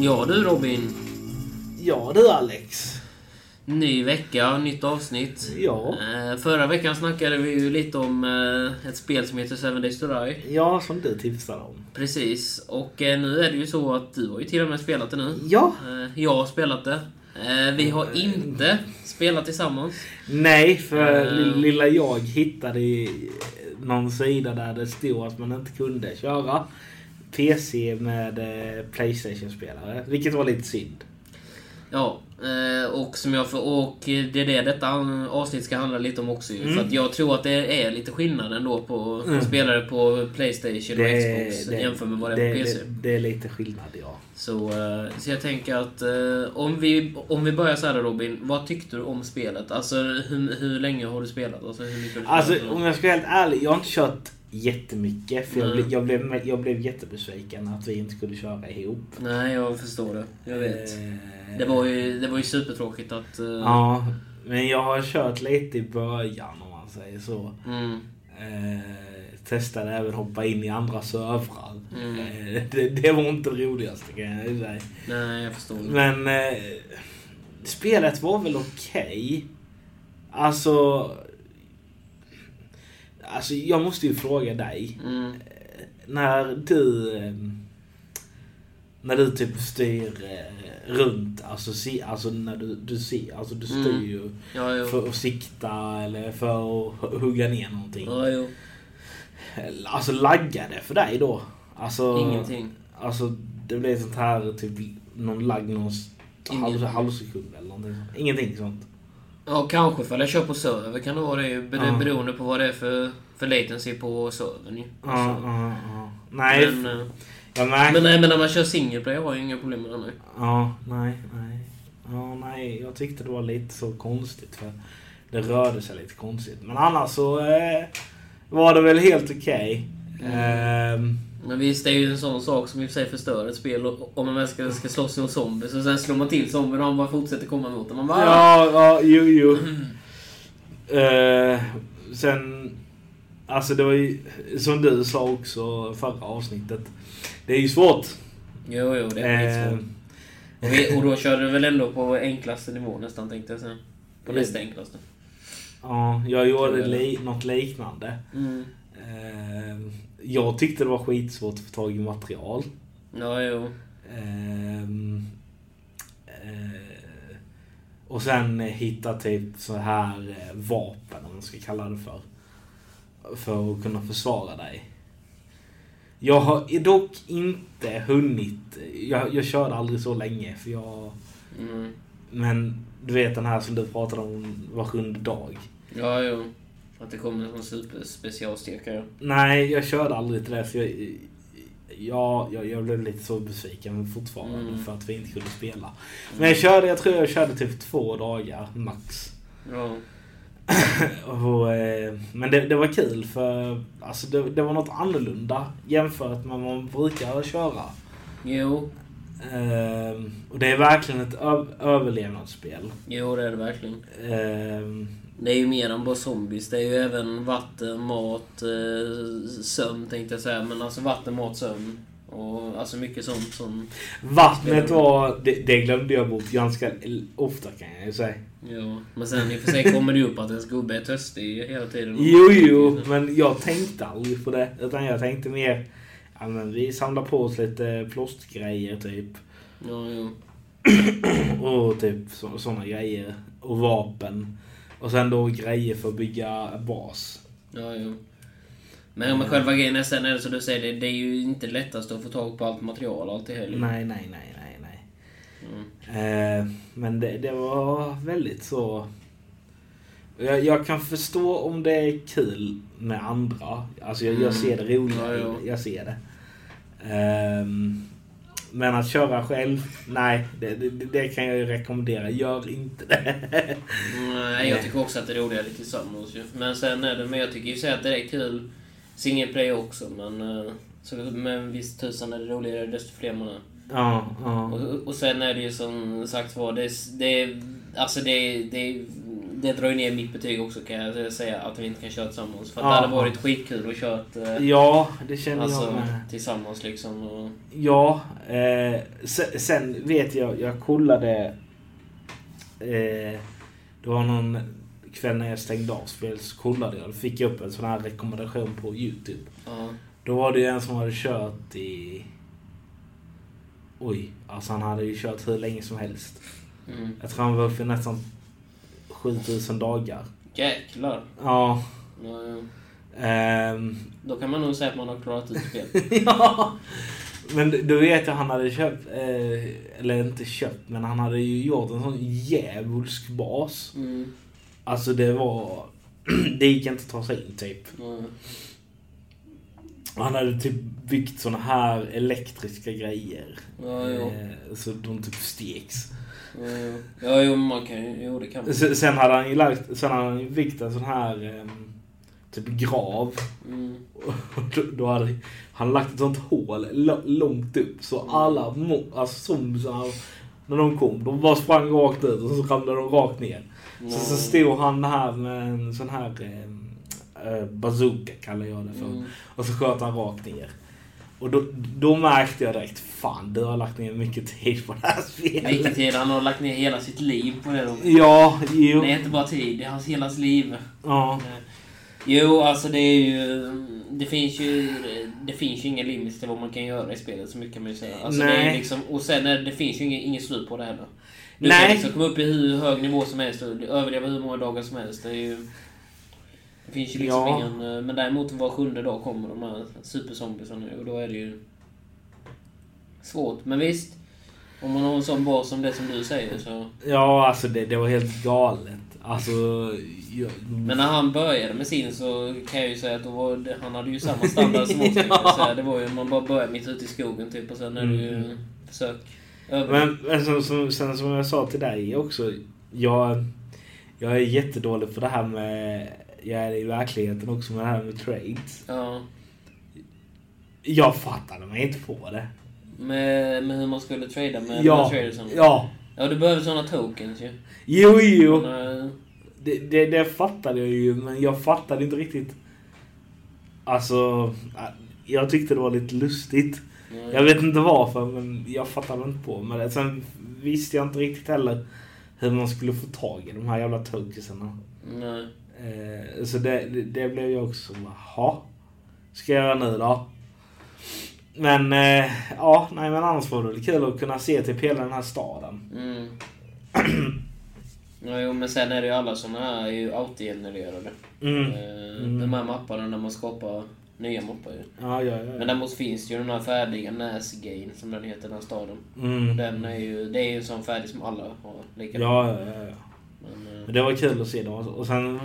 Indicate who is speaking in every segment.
Speaker 1: Ja du Robin.
Speaker 2: Ja du Alex.
Speaker 1: Ny vecka, nytt avsnitt.
Speaker 2: Ja.
Speaker 1: Eh, förra veckan snackade vi ju lite om eh, ett spel som heter Seven Days to Die.
Speaker 2: Ja, som du tipsade om.
Speaker 1: Precis. Och eh, nu är det ju så att du har ju till och med spelat det nu.
Speaker 2: Ja.
Speaker 1: Eh, jag har spelat det. Eh, vi har inte spelat tillsammans.
Speaker 2: Nej, för
Speaker 1: Eh.
Speaker 2: li- lilla jag hittade i någon sida där det stod att man inte kunde köra PC med eh, Playstation-spelare. Vilket var lite synd.
Speaker 1: Ja, eh, och, som jag för, och det är det detta an- avsnitt ska handla lite om också. ju. För att jag tror att det är lite skillnad ändå på spelare på Playstation och Xbox jämfört med vad Mm. det är på PC.
Speaker 2: det, det är lite skillnad, ja.
Speaker 1: Så, eh, så jag tänker att eh, om, vi, om vi börjar så här då, Robin, vad tyckte du om spelet? Alltså hur, hur länge har du spelat? Alltså, hur mycket har du
Speaker 2: Alltså
Speaker 1: spelat?
Speaker 2: om jag ska vara helt ärlig, jag har inte kört jättemycket. För jag,
Speaker 1: Mm.
Speaker 2: blev, jag, blev, jag blev jättebesviken att vi inte kunde köra ihop.
Speaker 1: Nej, jag förstår det. Jag vet.
Speaker 2: Eh,
Speaker 1: Det var ju, det var ju supertråkigt att... eh,
Speaker 2: Ja, men jag har kört lite i början om man säger så.
Speaker 1: Mm,
Speaker 2: Eh, testade även hoppa in i andra servrar.
Speaker 1: Mm.
Speaker 2: Eh, det, det var inte det roligaste kan jag säga.
Speaker 1: nej, jag förstår. det.
Speaker 2: Men eh, spelet var väl okej. Alltså... Alltså jag måste ju fråga dig.
Speaker 1: Mm,
Speaker 2: När du... eh, När du typ styr eh, runt, alltså, se, alltså när du, du ser, alltså du styr
Speaker 1: Mm.
Speaker 2: ju
Speaker 1: ja, jo.
Speaker 2: för att sikta eller för att hu- hugga ner någonting.
Speaker 1: Ja, jo.
Speaker 2: Alltså laggar det för dig då? Alltså,
Speaker 1: Ingenting.
Speaker 2: Alltså det blir sånt här typ någon lagg någon s- halv,
Speaker 1: Ingenting.
Speaker 2: halvsekund eller någonting. sånt. Ingenting sånt.
Speaker 1: Ja, kanske ifall jag kör på server kan det vara det. ju,
Speaker 2: Ja.
Speaker 1: Bero- Beroende på vad det är för, för latency på servern ju.
Speaker 2: Ja,
Speaker 1: Alltså,
Speaker 2: ja, ja. Nej,
Speaker 1: Men, eh,
Speaker 2: jag märker...
Speaker 1: men, nej, men när man kör single player har jag inga problem med det nu.
Speaker 2: Ja, nej, nej. Ja, nej, jag tyckte det var lite så konstigt för det rörde sig lite konstigt. Men annars så eh, var det väl helt okej.
Speaker 1: Mm.
Speaker 2: Ehm,
Speaker 1: Men visst, det är ju en sån sak som i och för sig förstör ett spel. Och- Om man väl ska, ska slåss mot zombies och sen slår man till zombien och han bara fortsätter komma mot en. Man bara... "Ah!"
Speaker 2: Ja, ja, jo, jo. Eh, sen, alltså det var ju som du sa också förra avsnittet. Det är ju svårt.
Speaker 1: Jo, jo, det är
Speaker 2: Eh,
Speaker 1: skitsvårt. Och vi- Och då kör du väl ändå på enklaste nivå nästan, tänkte jag sen. På
Speaker 2: Mm.
Speaker 1: nästa enklaste.
Speaker 2: Eh, ja, jag gjorde li- något liknande.
Speaker 1: Mm.
Speaker 2: Eh, jag tyckte det var skitsvårt att få tag i material.
Speaker 1: Ja, jo.
Speaker 2: Ehm, eh, och sen hitta typ så här eh, vapen, om man ska kalla det för. För att kunna försvara dig. Jag har dock inte hunnit. Jag, jag körde aldrig så länge. för jag...
Speaker 1: Mm.
Speaker 2: Men du vet den här som du pratade om var sjunde dag.
Speaker 1: Ja, jo. Att det kommer en sån superspecialstekare.
Speaker 2: Nej, jag körde aldrig till det. För jag, jag, jag, jag blev lite så besviken fortfarande
Speaker 1: Mm.
Speaker 2: för att vi inte kunde spela. Men jag körde, jag tror jag körde typ två dagar max.
Speaker 1: Mm. Ja.
Speaker 2: Och, eh, men det, det var kul för alltså det, det var något annorlunda jämfört med vad man brukar köra.
Speaker 1: Jo.
Speaker 2: Ehm, och det är verkligen ett ö- överlevnadsspel.
Speaker 1: Jo, det är det verkligen.
Speaker 2: Ehm,
Speaker 1: Det är ju mer än bara zombies. Det är ju även vatten, mat, eh, sömn tänkte jag säga. Men alltså vatten, mat, sömn. Och alltså mycket sånt som...
Speaker 2: vattnet var, det, det glömde jag bort ganska l- ofta kan jag ju säga.
Speaker 1: Ja. Men sen i och för sig kommer det ju upp att ens gubbe är törstig hela tiden.
Speaker 2: Jo, jo, men jag tänkte aldrig på det. Utan jag tänkte mer, ja men vi samlar på oss lite plåstgrejer typ.
Speaker 1: Ja, jo.
Speaker 2: Och typ sådana grejer. Och vapen. Och sen då grejer för att bygga bas.
Speaker 1: Ja, jo. Men med själva grejen är sen är det som du säger, det, det är ju inte lättast att få tag på allt material och allt det liksom. heller.
Speaker 2: Nej, nej, nej, nej, nej.
Speaker 1: Mm.
Speaker 2: Eh, men det, det var väldigt så... Jag, jag kan förstå om det är kul med andra. Alltså jag, jag ser det roliga
Speaker 1: Mm. Ja,
Speaker 2: i
Speaker 1: ja.
Speaker 2: det. Jag ser det. Ehm, men att köra själv, nej. Det, det, det kan jag ju rekommendera. Gör inte det.
Speaker 1: Nej, jag tycker också att det är roligare tillsammans ju. Men sen är det, men jag tycker ju så att det är kul single play också. Men, eh, så, men visst tusan är det roligare desto fler man är.
Speaker 2: ja, ja.
Speaker 1: Och, och sen är det ju som sagt var, det, är- det, är- alltså det, är- det är det drar ju ner mitt betyg också kan jag säga, att vi inte kan köra tillsammans. För att
Speaker 2: Ja.
Speaker 1: det hade varit skitkul att köra eh,
Speaker 2: Ja, det känner jag
Speaker 1: alltså,
Speaker 2: med.
Speaker 1: tillsammans liksom. Och,
Speaker 2: Ja, eh, se- sen vet jag, jag kollade... Eh, det var någon kväll när jag stängde av spelet så kollade jag. Då fick jag upp en sån här rekommendation på Youtube.
Speaker 1: ja.
Speaker 2: Då var det ju en som hade kört i... Oj, alltså han hade ju kört hur länge som helst.
Speaker 1: mm.
Speaker 2: Jag tror han var uppe i nästan 7000 dagar.
Speaker 1: Jäklar.
Speaker 2: Ja.
Speaker 1: Ja, ja.
Speaker 2: ehm,
Speaker 1: Då kan man nog säga att man har klarat ut spelet.
Speaker 2: ja. Men d- då vet jag han hade köpt, eh, eller inte köpt, men han hade ju gjort en sån djävulsk bas.
Speaker 1: Mm.
Speaker 2: Alltså det var... det gick inte att ta sig in typ.
Speaker 1: Ja.
Speaker 2: Och Han hade typ byggt såna här elektriska grejer.
Speaker 1: Ja, jo.
Speaker 2: Eh, så de typ steks.
Speaker 1: Ja, jo. Ja, jo, men man kan ju... Jo, det kan man.
Speaker 2: Se- Sen hade han ju lagt, sen hade han ju byggt en sån här ehm, typ grav.
Speaker 1: Mm.
Speaker 2: Och då, då hade han lagt ett sånt hål l- långt upp så alla mo- alltså zombisar när de kom, de bara sprang rakt ut och så ramlade de rakt ner.
Speaker 1: Ja.
Speaker 2: Så, så
Speaker 1: Mm.
Speaker 2: stod han här med en sån här eh, eh, bazooka kallar jag det för.
Speaker 1: Mm.
Speaker 2: Och så sköt han rakt ner. Och då, då märkte jag direkt, fan du har lagt ner mycket tid på det här
Speaker 1: Vilken
Speaker 2: spelet.
Speaker 1: tid han har lagt ner hela sitt liv på det då.
Speaker 2: Ja, jo.
Speaker 1: Det är inte bara tid, det är hans hela liv.
Speaker 2: Ja.
Speaker 1: eh, Jo, alltså det är ju... Det finns ju, det finns ju ingen limit till vad man kan göra i spelet, så mycket kan man ju säga. Alltså Det är
Speaker 2: Nej.
Speaker 1: liksom, och sen är, det finns ju ingen, ingen slut på det heller. Du
Speaker 2: Nej.
Speaker 1: kan liksom komma upp i hur hög nivå som helst och överleva hur många dagar som helst. Det, är ju, det finns ju liksom
Speaker 2: Ja.
Speaker 1: ingen... eh, Men däremot var sjunde dag kommer de här superzombisarna och då är det ju svårt. Men visst, om man har en sån bas som det som du säger så...
Speaker 2: Ja, alltså det, det var helt galet. Alltså... Jag,
Speaker 1: Men när han började med sin så kan jag ju säga att då var det, han hade ju samma standard som oss. kan jag
Speaker 2: Ja.
Speaker 1: säga. Det var ju man bara började mitt ute i skogen typ och sen är det ju
Speaker 2: Mm.
Speaker 1: försök. Över.
Speaker 2: Men, men som, som, sen som jag sa till dig också. Jag, jag är jättedålig på det här med... Jag är i verkligheten också med det här med trades.
Speaker 1: ja,
Speaker 2: Jag fattade mig inte på det.
Speaker 1: med, med hur man skulle trada med de här
Speaker 2: ja,
Speaker 1: tradersen. Ja.
Speaker 2: ja.
Speaker 1: ja, du behöver såna tokens ju.
Speaker 2: Jo, jo.
Speaker 1: Men, eh,
Speaker 2: Det, det, det fattade jag ju, men jag fattade inte riktigt. Alltså, jag tyckte det var lite lustigt.
Speaker 1: men-
Speaker 2: Jag vet inte varför, men jag fattade inte på med det. Sen visste jag inte riktigt heller hur man skulle få tag i de här jävla tokeserna.
Speaker 1: Nej.
Speaker 2: Eh, så det, det, det blev jag också som jaha. Ska jag göra nu då? Men eh, ja, nej men annars var det väl kul att kunna se typ hela den här staden.
Speaker 1: Mm. Ja, jo, men sen är det ju alla såna här är ju autogenererade.
Speaker 2: Mm.
Speaker 1: Eh,
Speaker 2: Mm.
Speaker 1: De här mapparna när man skapar nya mappar ju.
Speaker 2: Ja, ja, ja.
Speaker 1: Men
Speaker 2: ja.
Speaker 1: däremot finns det ju den här färdiga Näsgain som den heter, den här staden.
Speaker 2: Mm.
Speaker 1: Den är ju, det är ju en sån färdig som alla har. Lika.
Speaker 2: Ja, ja, ja. ja.
Speaker 1: Men, eh,
Speaker 2: Men det var kul att se dem. Och sen,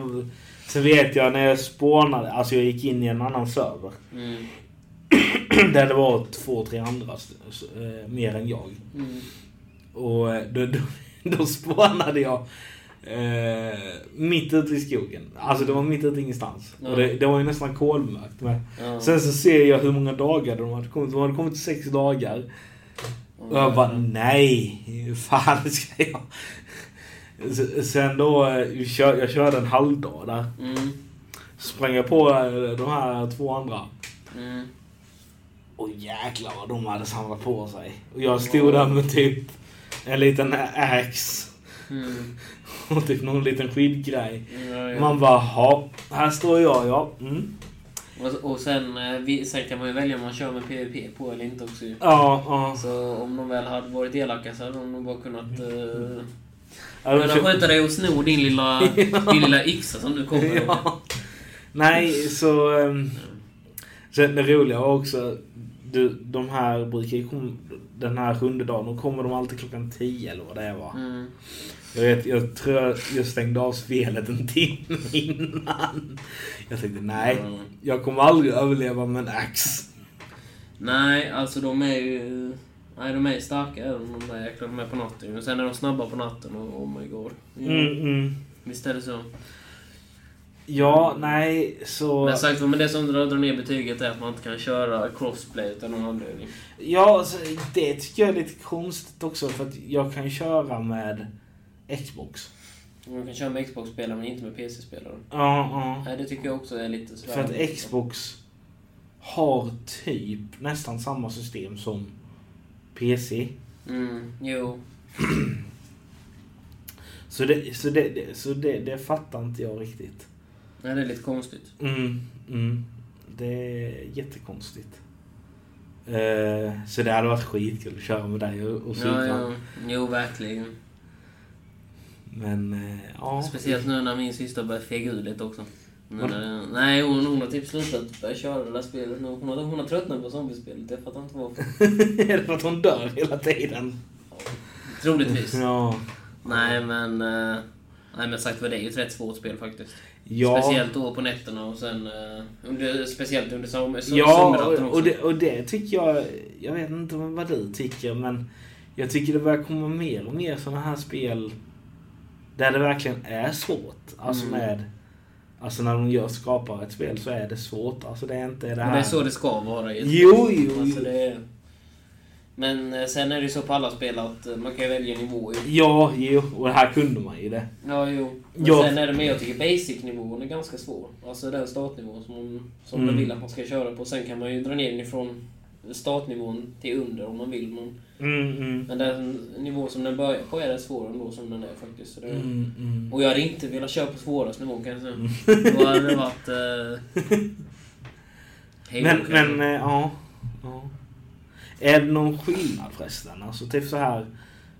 Speaker 2: sen vet jag när jag spånade, alltså jag gick in i en annan server.
Speaker 1: mm,
Speaker 2: Där det var två, tre andra eh, mer än jag.
Speaker 1: mm,
Speaker 2: Och eh, då, då, då spånade jag eh, mitt ute i skogen. Alltså det var mitt ute i ingenstans.
Speaker 1: Ja.
Speaker 2: Och det, det var ju nästan kolmörkt. Men
Speaker 1: ja.
Speaker 2: sen så ser jag hur många dagar de hade kommit. De hade kommit sex dagar. Och jag bara nej, fan det ska jag. S- Sen då, eh, kör- jag körde en halvdag där.
Speaker 1: Mm,
Speaker 2: Sprang jag på eh, de här två andra.
Speaker 1: mm.
Speaker 2: Och jäklar vad de hade samlat på sig. Och jag stod där med typ en liten ax
Speaker 1: Mm.
Speaker 2: och typ någon liten skidgrej.
Speaker 1: Ja, ja.
Speaker 2: Man bara, ja, här står jag, ja. Mm.
Speaker 1: Och, och sen, eh, vi, sen kan man ju välja om man kör med PVP på eller inte också ju.
Speaker 2: Ja, ja.
Speaker 1: Så om de väl hade varit elaka så hade de nog bara kunnat... Uh,
Speaker 2: Ja, de kör-
Speaker 1: skjuta dig och sno din lilla, din lilla yxa som du kommer ihåg.
Speaker 2: Ja. Nej, så... ehm, Sen det roliga var också, du, de här brukar ju komma, den här sjunde dagen, då kommer de alltid klockan 10 eller vad det var.
Speaker 1: Mm.
Speaker 2: Jag, vet, jag tror jag- jag stängde av spelet en timme innan. Jag tänkte, nej,
Speaker 1: Mm.
Speaker 2: jag kommer aldrig överleva med en ax.
Speaker 1: Nej, alltså de är ju... Nej, de är starka är de, de där jäklarna. De är på natten ju. Sen är de snabba på natten och oh my god. Ja,
Speaker 2: Mm, mm.
Speaker 1: Visst är det så.
Speaker 2: Ja, nej, så...
Speaker 1: Men sagt var, men det som drar drar ner betyget är att man inte kan köra crossplay utan någon anledning.
Speaker 2: Ja, alltså, det tycker jag är lite konstigt också för att jag kan köra med Xbox.
Speaker 1: Man kan köra med Xbox-spelare men inte med PC-spelare.
Speaker 2: Ja, ja.
Speaker 1: Nej, det tycker jag också är lite sådär...
Speaker 2: För att Xbox har typ nästan samma system som PC.
Speaker 1: Mm, jo.
Speaker 2: Så det, så det, det, så det, det fattar inte jag riktigt.
Speaker 1: Nej, det är lite konstigt.
Speaker 2: Mm, mm. Det är jättekonstigt. Eh, så det hade varit skitkul att köra med dig och, och
Speaker 1: Ja,
Speaker 2: Supra.
Speaker 1: ja. Jo, verkligen.
Speaker 2: Men eh, ja.
Speaker 1: Speciellt nu när min syster börjar fega ur lite också. Nu när, nej, hon, hon har typ slutat börja köra det där spelet nu. Hon har, hon har tröttnat på zombiespelet. Jag fattar inte varför.
Speaker 2: är det för att hon dör hela tiden?
Speaker 1: Troligtvis.
Speaker 2: Ja.
Speaker 1: Nej, men... eh, nej, men sagt vad det är ju ett rätt svårt spel faktiskt.
Speaker 2: Ja.
Speaker 1: Speciellt då på nätterna och sen... eh, under, speciellt under som, som,
Speaker 2: Ja,
Speaker 1: sommarnatten också.
Speaker 2: och det, och det tycker jag... Jag vet inte vad du tycker, men jag tycker det börjar komma mer och mer sådana här spel där det verkligen är svårt. Alltså
Speaker 1: Mm.
Speaker 2: med... Alltså när de gör, skapar ett spel så är det svårt. Alltså det är inte det
Speaker 1: Men
Speaker 2: här...
Speaker 1: det är så det ska vara ju.
Speaker 2: Jo, jo,
Speaker 1: Alltså,
Speaker 2: jo.
Speaker 1: det är... Men eh, sen är det ju så på alla spel att eh, man kan ju välja nivå ju.
Speaker 2: Ja, jo. Och här kunde man ju det.
Speaker 1: Ja, jo. Men
Speaker 2: Ja.
Speaker 1: sen är det med, jag tycker basic-nivån är ganska svår. Alltså den startnivån som, som
Speaker 2: Mm.
Speaker 1: man vill att man ska köra på. Sen kan man ju dra ner den ifrån startnivån till under om man vill. Men,
Speaker 2: Mm, mm.
Speaker 1: men den nivå som den börjar på är rätt svår ändå som den är faktiskt. Så det,
Speaker 2: Mm, mm.
Speaker 1: Och jag hade inte velat köra på svåraste nivån kan jag säga. Då hade det varit... Eh, hej då,
Speaker 2: Men,
Speaker 1: kanske.
Speaker 2: men, eh, ja. ja. Är det någon skillnad förresten? Alltså typ så här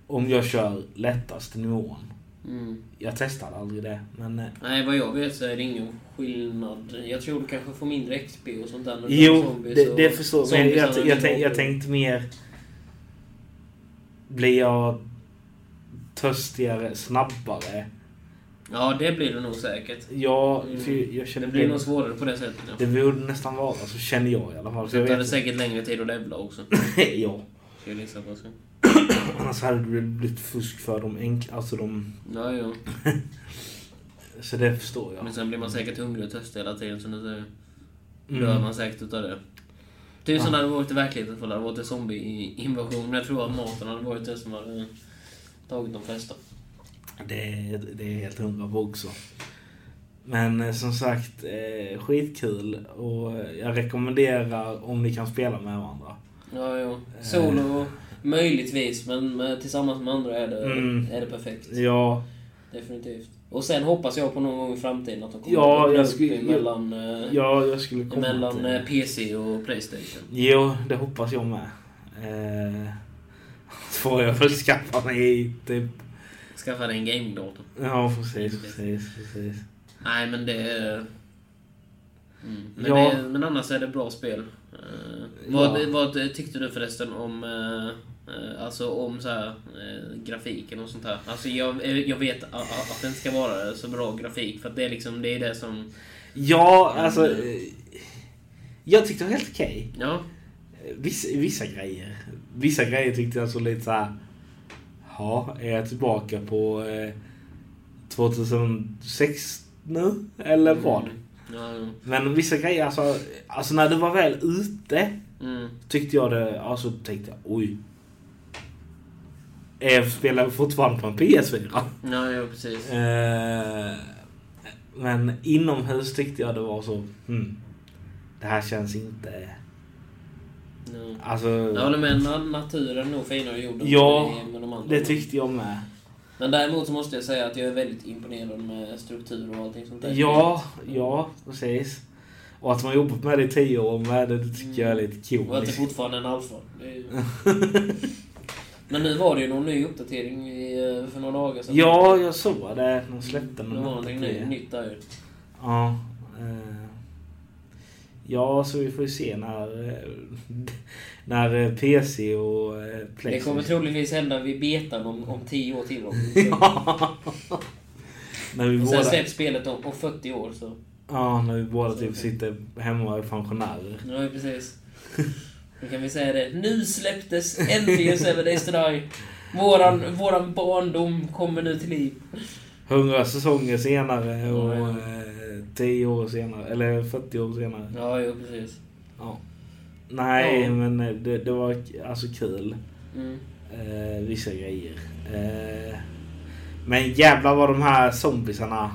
Speaker 2: om jag kör lättaste nivån.
Speaker 1: Mm.
Speaker 2: Jag testade aldrig det, men... eh,
Speaker 1: Nej, vad jag vet så är det ingen skillnad. Jag tror du kanske får mindre XP och sånt där. när du
Speaker 2: Jo,
Speaker 1: har zombies
Speaker 2: det,
Speaker 1: och-
Speaker 2: det förstår jag. Men
Speaker 1: zombies
Speaker 2: jag,
Speaker 1: har
Speaker 2: jag,
Speaker 1: en
Speaker 2: jag,
Speaker 1: nivå
Speaker 2: tänk, jag
Speaker 1: på-
Speaker 2: tänkte mer... Blir jag törstigare snabbare?
Speaker 1: Ja, det blir det nog säkert.
Speaker 2: Ja,
Speaker 1: Mm.
Speaker 2: för jag
Speaker 1: Det
Speaker 2: känner...
Speaker 1: blir nog svårare på det sättet. Ja.
Speaker 2: det borde nästan vara så, känner jag i alla fall. Så
Speaker 1: Det
Speaker 2: jag
Speaker 1: tar
Speaker 2: vet
Speaker 1: säkert längre tid att levla också.
Speaker 2: inte. ja.
Speaker 1: Ska jag gissa på. så.
Speaker 2: Annars hade det väl blivit fusk för de enkla... Alltså de...
Speaker 1: Ja, ja.
Speaker 2: Så det förstår jag.
Speaker 1: Men sen blir man säkert hungrig och törstig hela tiden. Så nu
Speaker 2: Mm.
Speaker 1: dör man säkert utav det. Tusen hade det varit i verkligheten ifall det hade varit en zombie-invasion. Men jag tror att maten hade varit det som hade tagit de flesta.
Speaker 2: Det, det är helt hundra på också. Men eh, som sagt, eh, skitkul. Och eh, jag rekommenderar om ni kan spela med varandra.
Speaker 1: Ja, ja.
Speaker 2: Eh.
Speaker 1: Solo, möjligtvis. Men med, tillsammans med andra är det,
Speaker 2: Mm.
Speaker 1: är det perfekt.
Speaker 2: Ja,
Speaker 1: Definitivt. Och sen hoppas jag på någon gång i framtiden att de kommer
Speaker 2: Ja,
Speaker 1: att öppna
Speaker 2: jag
Speaker 1: upp
Speaker 2: skulle-
Speaker 1: emellan, eh,
Speaker 2: ja jag skulle komma
Speaker 1: emellan
Speaker 2: till-
Speaker 1: eh, PC och Playstation.
Speaker 2: Jo, det hoppas jag med. Eh, får jag väl skaffa mig typ...
Speaker 1: Skaffa dig en gaming-dator.
Speaker 2: Ja, precis, precis, precis.
Speaker 1: Nej, men det... är- Mm. Men,
Speaker 2: Ja.
Speaker 1: det, men annars är det bra spel. Eh, vad,
Speaker 2: Ja.
Speaker 1: vad tyckte du förresten om eh, eh, Alltså om så här, eh, grafiken och sånt här? Alltså jag, eh, jag vet a- a- att den ska vara så bra grafik för att det är liksom det, är det som...
Speaker 2: Ja, alltså... eh, Jag tyckte det var helt okej.
Speaker 1: Ja,
Speaker 2: Vissa, vissa grejer. Vissa grejer tyckte jag såg lite såhär... Ja, är jag tillbaka på eh, 2006 nu? Eller vad?
Speaker 1: Mm. ja, ja.
Speaker 2: Men vissa grejer, alltså, alltså när det var väl ute
Speaker 1: mm.
Speaker 2: tyckte jag det... Alltså tänkte jag, oj. Är Jag spelar fortfarande på en PS4.
Speaker 1: ja, ja precis.
Speaker 2: Eh, men inomhus tyckte jag det var så... Hmm, det här känns inte...
Speaker 1: Ja.
Speaker 2: Alltså...
Speaker 1: Jag håller med, na- naturen är nog finare gjord än
Speaker 2: Ja,
Speaker 1: vad det är med de andra.
Speaker 2: det tyckte jag med.
Speaker 1: Men däremot så måste jag säga att jag är väldigt imponerad med struktur och allting sånt där.
Speaker 2: Ja, ja, precis. Och att man jobbat med det i tio år med det, det tycker jag är lite
Speaker 1: Mm. Och att det
Speaker 2: komiskt.
Speaker 1: fortfarande är en alfa. Det är ju... Men nu var det ju någon ny uppdatering i, eh, för några dagar sedan.
Speaker 2: Ja, jag såg det. De släppte
Speaker 1: Det
Speaker 2: någon
Speaker 1: var någonting ny,
Speaker 2: uppdatering.
Speaker 1: nytt där ju.
Speaker 2: Ja. eh. Ja, så vi får ju se när, eh, när eh, PC och eh,
Speaker 1: Det
Speaker 2: Playstation...
Speaker 1: kommer troligtvis hända vid betan om, om 10 år till. Om.
Speaker 2: ja. när vi
Speaker 1: Och sen
Speaker 2: båda,
Speaker 1: släpps spelet om, om 40 år. Så.
Speaker 2: ja, när vi båda typ
Speaker 1: Så-
Speaker 2: sitter hemma och är pensionärer.
Speaker 1: Ja, precis. Då kan vi säga det. Nu släpptes äntligen Seven Days to Die. Våran, våran barndom kommer nu till liv.
Speaker 2: Hundra säsonger senare och
Speaker 1: Ja,
Speaker 2: eh, tio år senare. Eller 40 år senare.
Speaker 1: Ja, jo, precis.
Speaker 2: Ja. Nej,
Speaker 1: Ja.
Speaker 2: men eh, det, det var k- alltså kul.
Speaker 1: Mm.
Speaker 2: Eh, vissa grejer. Eh, Men jävlar vad de här zombisarna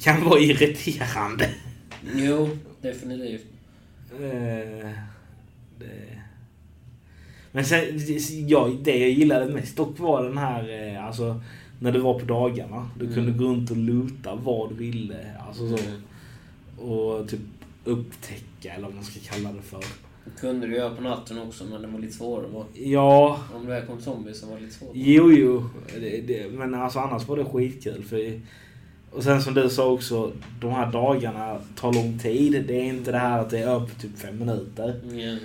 Speaker 2: kan vara irriterande.
Speaker 1: Jo, definitivt.
Speaker 2: Eh, det... Men sen, ja, det jag gillade mest dock var den här, eh, alltså när du var på dagarna. Du
Speaker 1: Mm.
Speaker 2: kunde gå runt och luta vad du ville. Alltså så. Och typ upptäcka eller vad man ska kalla det för.
Speaker 1: Det kunde du göra på natten också, men det var lite svårare. va?
Speaker 2: Ja,
Speaker 1: Om det här kom zombies så var det lite svårt.
Speaker 2: jo jo. Det, det, men alltså annars var det skitkul. För, och sen som du sa också, de här dagarna tar lång tid. Det är inte det här att det är öppet typ fem minuter.
Speaker 1: Ja. Mm.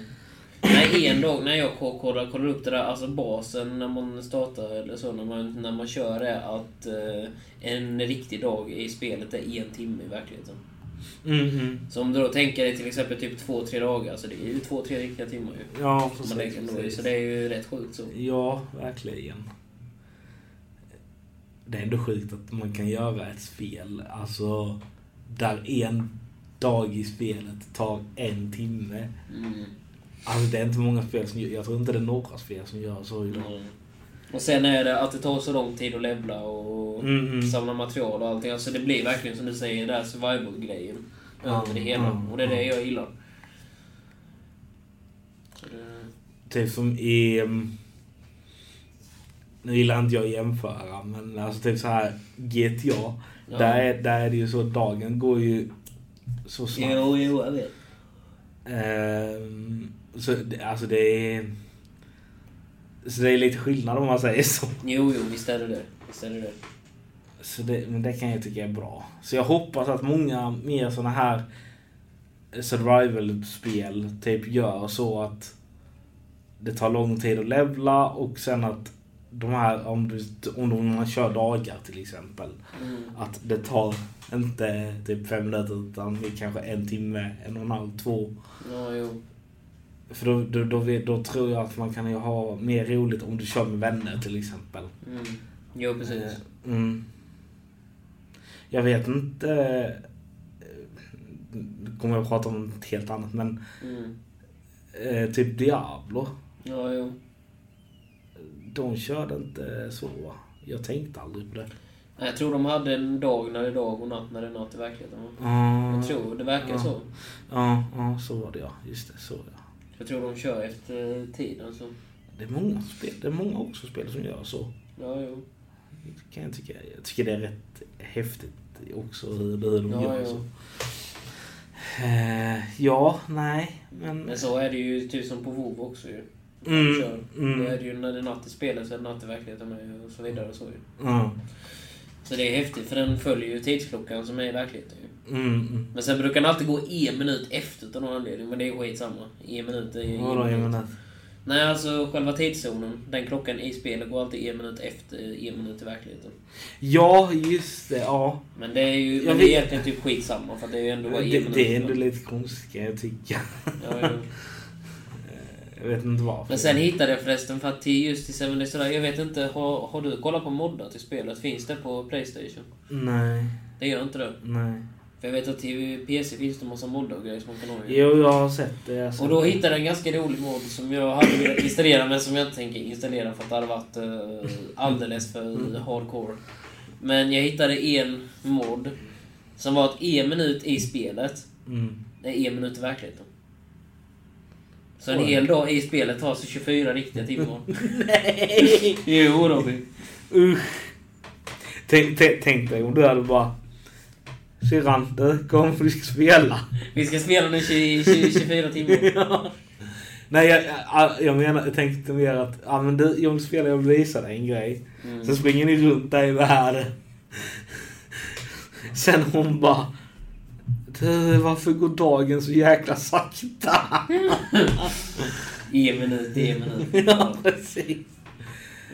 Speaker 1: Nej, en dag när jag kollade, kollade upp det där, alltså basen när man startar eller så, när man, när man kör är att eh, en riktig dag i spelet är en timme i verkligheten.
Speaker 2: Mhm.
Speaker 1: Så om du då tänker dig till exempel typ två, tre dagar, så det är ju två, tre riktiga timmar ju.
Speaker 2: Ja,
Speaker 1: Som man lägger ändå i, så det är ju rätt sjukt så.
Speaker 2: Ja, verkligen. Det är ändå sjukt att man kan göra ett spel, alltså där en dag i spelet tar en timme.
Speaker 1: Mm.
Speaker 2: Alltså det är inte många spel som gör, jag tror inte det är några spel som gör så idag.
Speaker 1: Mm. Och sen är det att det tar så lång tid att levla och
Speaker 2: Mm, mm.
Speaker 1: samla material och allting. Alltså det blir verkligen som du säger, den där survival-grejen.
Speaker 2: Ja,
Speaker 1: Över det hela.
Speaker 2: ja,
Speaker 1: och det är det
Speaker 2: ja.
Speaker 1: jag gillar. Så det-
Speaker 2: Typ som i... ehm, Nu gillar inte jag att jämföra, men alltså typ så här GTA.
Speaker 1: Ja.
Speaker 2: Där, är, där är det ju så, dagen går ju så snabbt.
Speaker 1: Jo, jo, jag vet.
Speaker 2: Ehm, så det, alltså det är... Så det är lite skillnad om man säger så.
Speaker 1: Jo, jo, visst är det det. Visst är det det.
Speaker 2: så det, men det kan jag tycka är bra. Så jag hoppas att många mer såna här survival-spel typ gör så att det tar lång tid att levla och sen att de här, om, du, om de- om man kör dagar till exempel,
Speaker 1: Mm.
Speaker 2: att det tar inte typ fem minuter utan det är kanske en timme, en och en halv, två.
Speaker 1: Ja, jo.
Speaker 2: För då, då, då, vet- då tror jag att man kan ju ha mer roligt om du kör med vänner till exempel.
Speaker 1: Mm. Jo, precis.
Speaker 2: Mm. Jag vet inte... eh, Nu kommer jag att prata om något helt annat men
Speaker 1: Mm.
Speaker 2: eh, typ Diablo.
Speaker 1: Ja, jo.
Speaker 2: De körde inte så. va? Jag tänkte aldrig på det.
Speaker 1: Nej, Jag tror de hade en dag när det är dag och natt när det är natt i verkligheten. va?
Speaker 2: Ja,
Speaker 1: Jag tror, det verkar
Speaker 2: Ja.
Speaker 1: så.
Speaker 2: Ja, ja, så var det ja. Just det, så ja.
Speaker 1: Jag tror de kör efter tiden så.
Speaker 2: Det är många spel, det är många också spel som gör så.
Speaker 1: Ja, jo.
Speaker 2: Det Kan jag, tycka. jag tycker det är rätt häftigt också hur, hur de
Speaker 1: Ja,
Speaker 2: gör
Speaker 1: ja.
Speaker 2: så. Eh, ja, nej, men...
Speaker 1: Men så är det ju typ som på WoW också ju.
Speaker 2: Mm,
Speaker 1: Kör.
Speaker 2: mm.
Speaker 1: Då är det ju när det är natt i spelet så är det natt i verkligheten med och så vidare och så ju.
Speaker 2: Ja.
Speaker 1: Så det är häftigt för den följer ju tidsklockan som är i verkligheten ju.
Speaker 2: Mm, mm.
Speaker 1: Men sen brukar den alltid gå en minut efter av någon anledning. Men det är skitsamma. En minut är ju en
Speaker 2: Vadå, jag
Speaker 1: minut.
Speaker 2: menar...
Speaker 1: Nej, alltså själva tidszonen. Den klockan i spelet går alltid en minut efter en minut i verkligheten.
Speaker 2: Ja, just det. Ja.
Speaker 1: Men det är ju
Speaker 2: Jag
Speaker 1: men det är
Speaker 2: vet-
Speaker 1: egentligen typ skitsamma för det är ju ändå bara en
Speaker 2: Det,
Speaker 1: minut.
Speaker 2: det är ändå lite konstigt kan jag tycka. Eh,
Speaker 1: ja, ja.
Speaker 2: Jag vet inte varför.
Speaker 1: Men sen hittade jag förresten för att till just till Seven Days to Die, jag vet inte, har, har du kollat på moddar till spelet? Finns det på Playstation?
Speaker 2: Nej,
Speaker 1: Det gör inte det.
Speaker 2: nej.
Speaker 1: För jag vet att till PC finns det massa moddar och grejer som man kan ha ju.
Speaker 2: Jo, jag har sett det. Jag har
Speaker 1: Och
Speaker 2: sett
Speaker 1: då
Speaker 2: det.
Speaker 1: hittade jag en ganska rolig mod som jag hade velat installera men som jag inte tänker installera för att det hade varit eh, alldeles
Speaker 2: Mm.
Speaker 1: för hardcore. Men jag hittade en mod som var att en minut i spelet
Speaker 2: Mm.
Speaker 1: är en minut i verkligheten. Så en
Speaker 2: Oj.
Speaker 1: hel dag i spelet tar sig 24 riktiga timmar. Nej! Jo Robin.
Speaker 2: Usch. Tänk, tänk, tänk dig om du hade bara... Syrran, du kom för du ska spela.
Speaker 1: Vi ska spela nu 20, 20, 24 timmar.
Speaker 2: Ja. Nej, jag, jag, jag menar, jag tänkte mer att ja, men du, jag vill spela, jag vill visa dig en grej.
Speaker 1: Mm.
Speaker 2: Sen springer ni runt där i världen. Sen hon bara... Du, varför går dagen så jäkla sakta?
Speaker 1: En minut, en minut.
Speaker 2: ja, precis.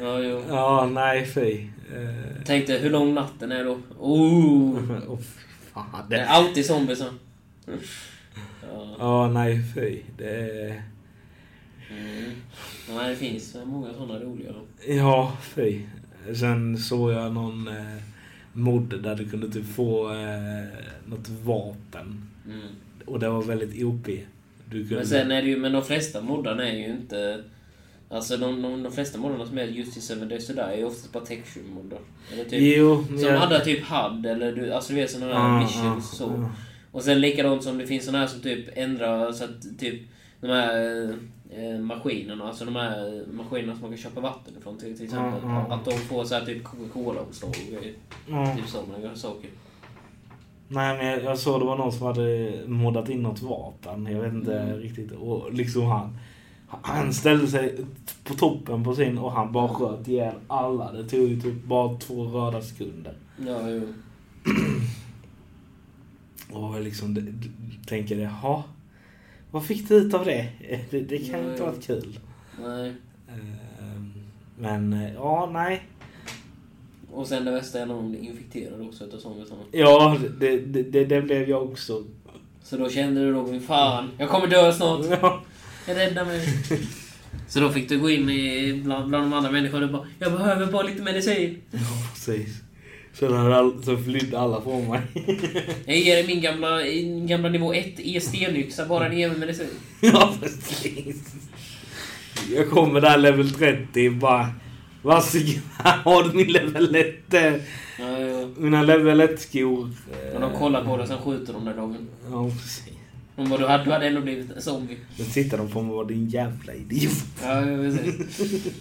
Speaker 1: Ja, jo.
Speaker 2: Ja, nej fy. Eh,
Speaker 1: Tänkte hur lång natten är då? Oh!
Speaker 2: åh, fy fan.
Speaker 1: Det är
Speaker 2: Det,
Speaker 1: alltid zombies va? Ja.
Speaker 2: ja, nej fy. Det är...
Speaker 1: Mm. Nej, det finns många sådana roliga. då.
Speaker 2: Ja, fy. Sen såg jag någon eh, mod där du kunde typ få eh, något vapen.
Speaker 1: Mm.
Speaker 2: Och det var väldigt OP. Du kunde...
Speaker 1: Men sen är det ju, men de flesta moddarna är ju inte Alltså de, de, de flesta moddarna som är just i Seven Days to Die är ju oftast bara texture-moddar. Eller typ,
Speaker 2: Jo,
Speaker 1: som
Speaker 2: ja.
Speaker 1: hade typ HUD eller du, alltså du vet sådana här
Speaker 2: Ja,
Speaker 1: missions
Speaker 2: ja,
Speaker 1: så.
Speaker 2: ja.
Speaker 1: Och sen likadant som det finns sådana här som typ ändrar så att typ de här eh, maskinerna, alltså de här maskinerna som man kan köpa vatten ifrån till, till exempel.
Speaker 2: Ja, ja.
Speaker 1: Att de får så här typ Coca-Cola-omslag och grejer.
Speaker 2: Ja.
Speaker 1: Typ sådana saker.
Speaker 2: Nej men jag, jag såg det var någon som hade moddat in något vapen. Jag vet inte riktigt. Och liksom han, han ställde sig på toppen på sin och han bara sköt ihjäl alla. Det tog ju typ bara två röda sekunder.
Speaker 1: Ja, jo.
Speaker 2: Och jag liksom d- d- tänker jaha. Vad fick du ut av det? Det, det kan
Speaker 1: Ja,
Speaker 2: inte
Speaker 1: ja.
Speaker 2: ha varit kul.
Speaker 1: Nej.
Speaker 2: Ehm, Men eh, ja, nej.
Speaker 1: Och sen det värsta är när de blir infekterade också utav zombiesarna.
Speaker 2: Ja, det, det, det, det blev jag också.
Speaker 1: Så då kände du Robin, fan, jag kommer dö snart.
Speaker 2: Ja.
Speaker 1: Rädda mig. Så då fick du gå in i, bland, bland de andra människorna och bara Jag behöver bara lite medicin.
Speaker 2: Precis. Sen hade all- så flydde alla från mig.
Speaker 1: Jag ger dig min gamla, min gamla nivå 1 i stenyxa, bara ni ger mig medicin.
Speaker 2: Ja, precis. Jag kommer där level 30 bara. Varsågod, här har du min level 1. eh,
Speaker 1: Ja, ja.
Speaker 2: Mina level 1-skor.
Speaker 1: Och de kollar på dig och sen skjuter de dig Robin.
Speaker 2: Ja, precis.
Speaker 1: De bara, du hade, du hade ändå blivit en zombie.
Speaker 2: Då tittar de på mig och bara, din jävla idiot.
Speaker 1: Ja, ja, precis.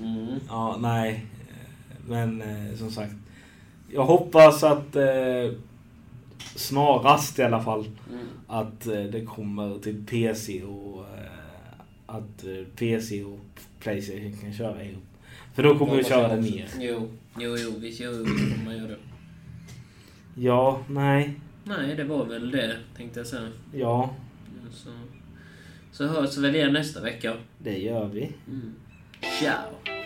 Speaker 1: Mm.
Speaker 2: Ja, nej. Men eh, som sagt. Jag hoppas att eh, snarast i alla fall
Speaker 1: Mm.
Speaker 2: att eh, det kommer till PC och eh, att eh, PC och Playstation kan köra ihop. För då kommer vi
Speaker 1: Hoppas
Speaker 2: köra
Speaker 1: jag
Speaker 2: det
Speaker 1: också.
Speaker 2: mer.
Speaker 1: Jo, jo, jo, visst, jo, jo, visst kommer man göra det.
Speaker 2: Ja, nej,
Speaker 1: Nej, det var väl det, tänkte jag säga.
Speaker 2: ja,
Speaker 1: Så, så hörs väl igen nästa vecka.
Speaker 2: det gör vi.
Speaker 1: Mm. Ciao!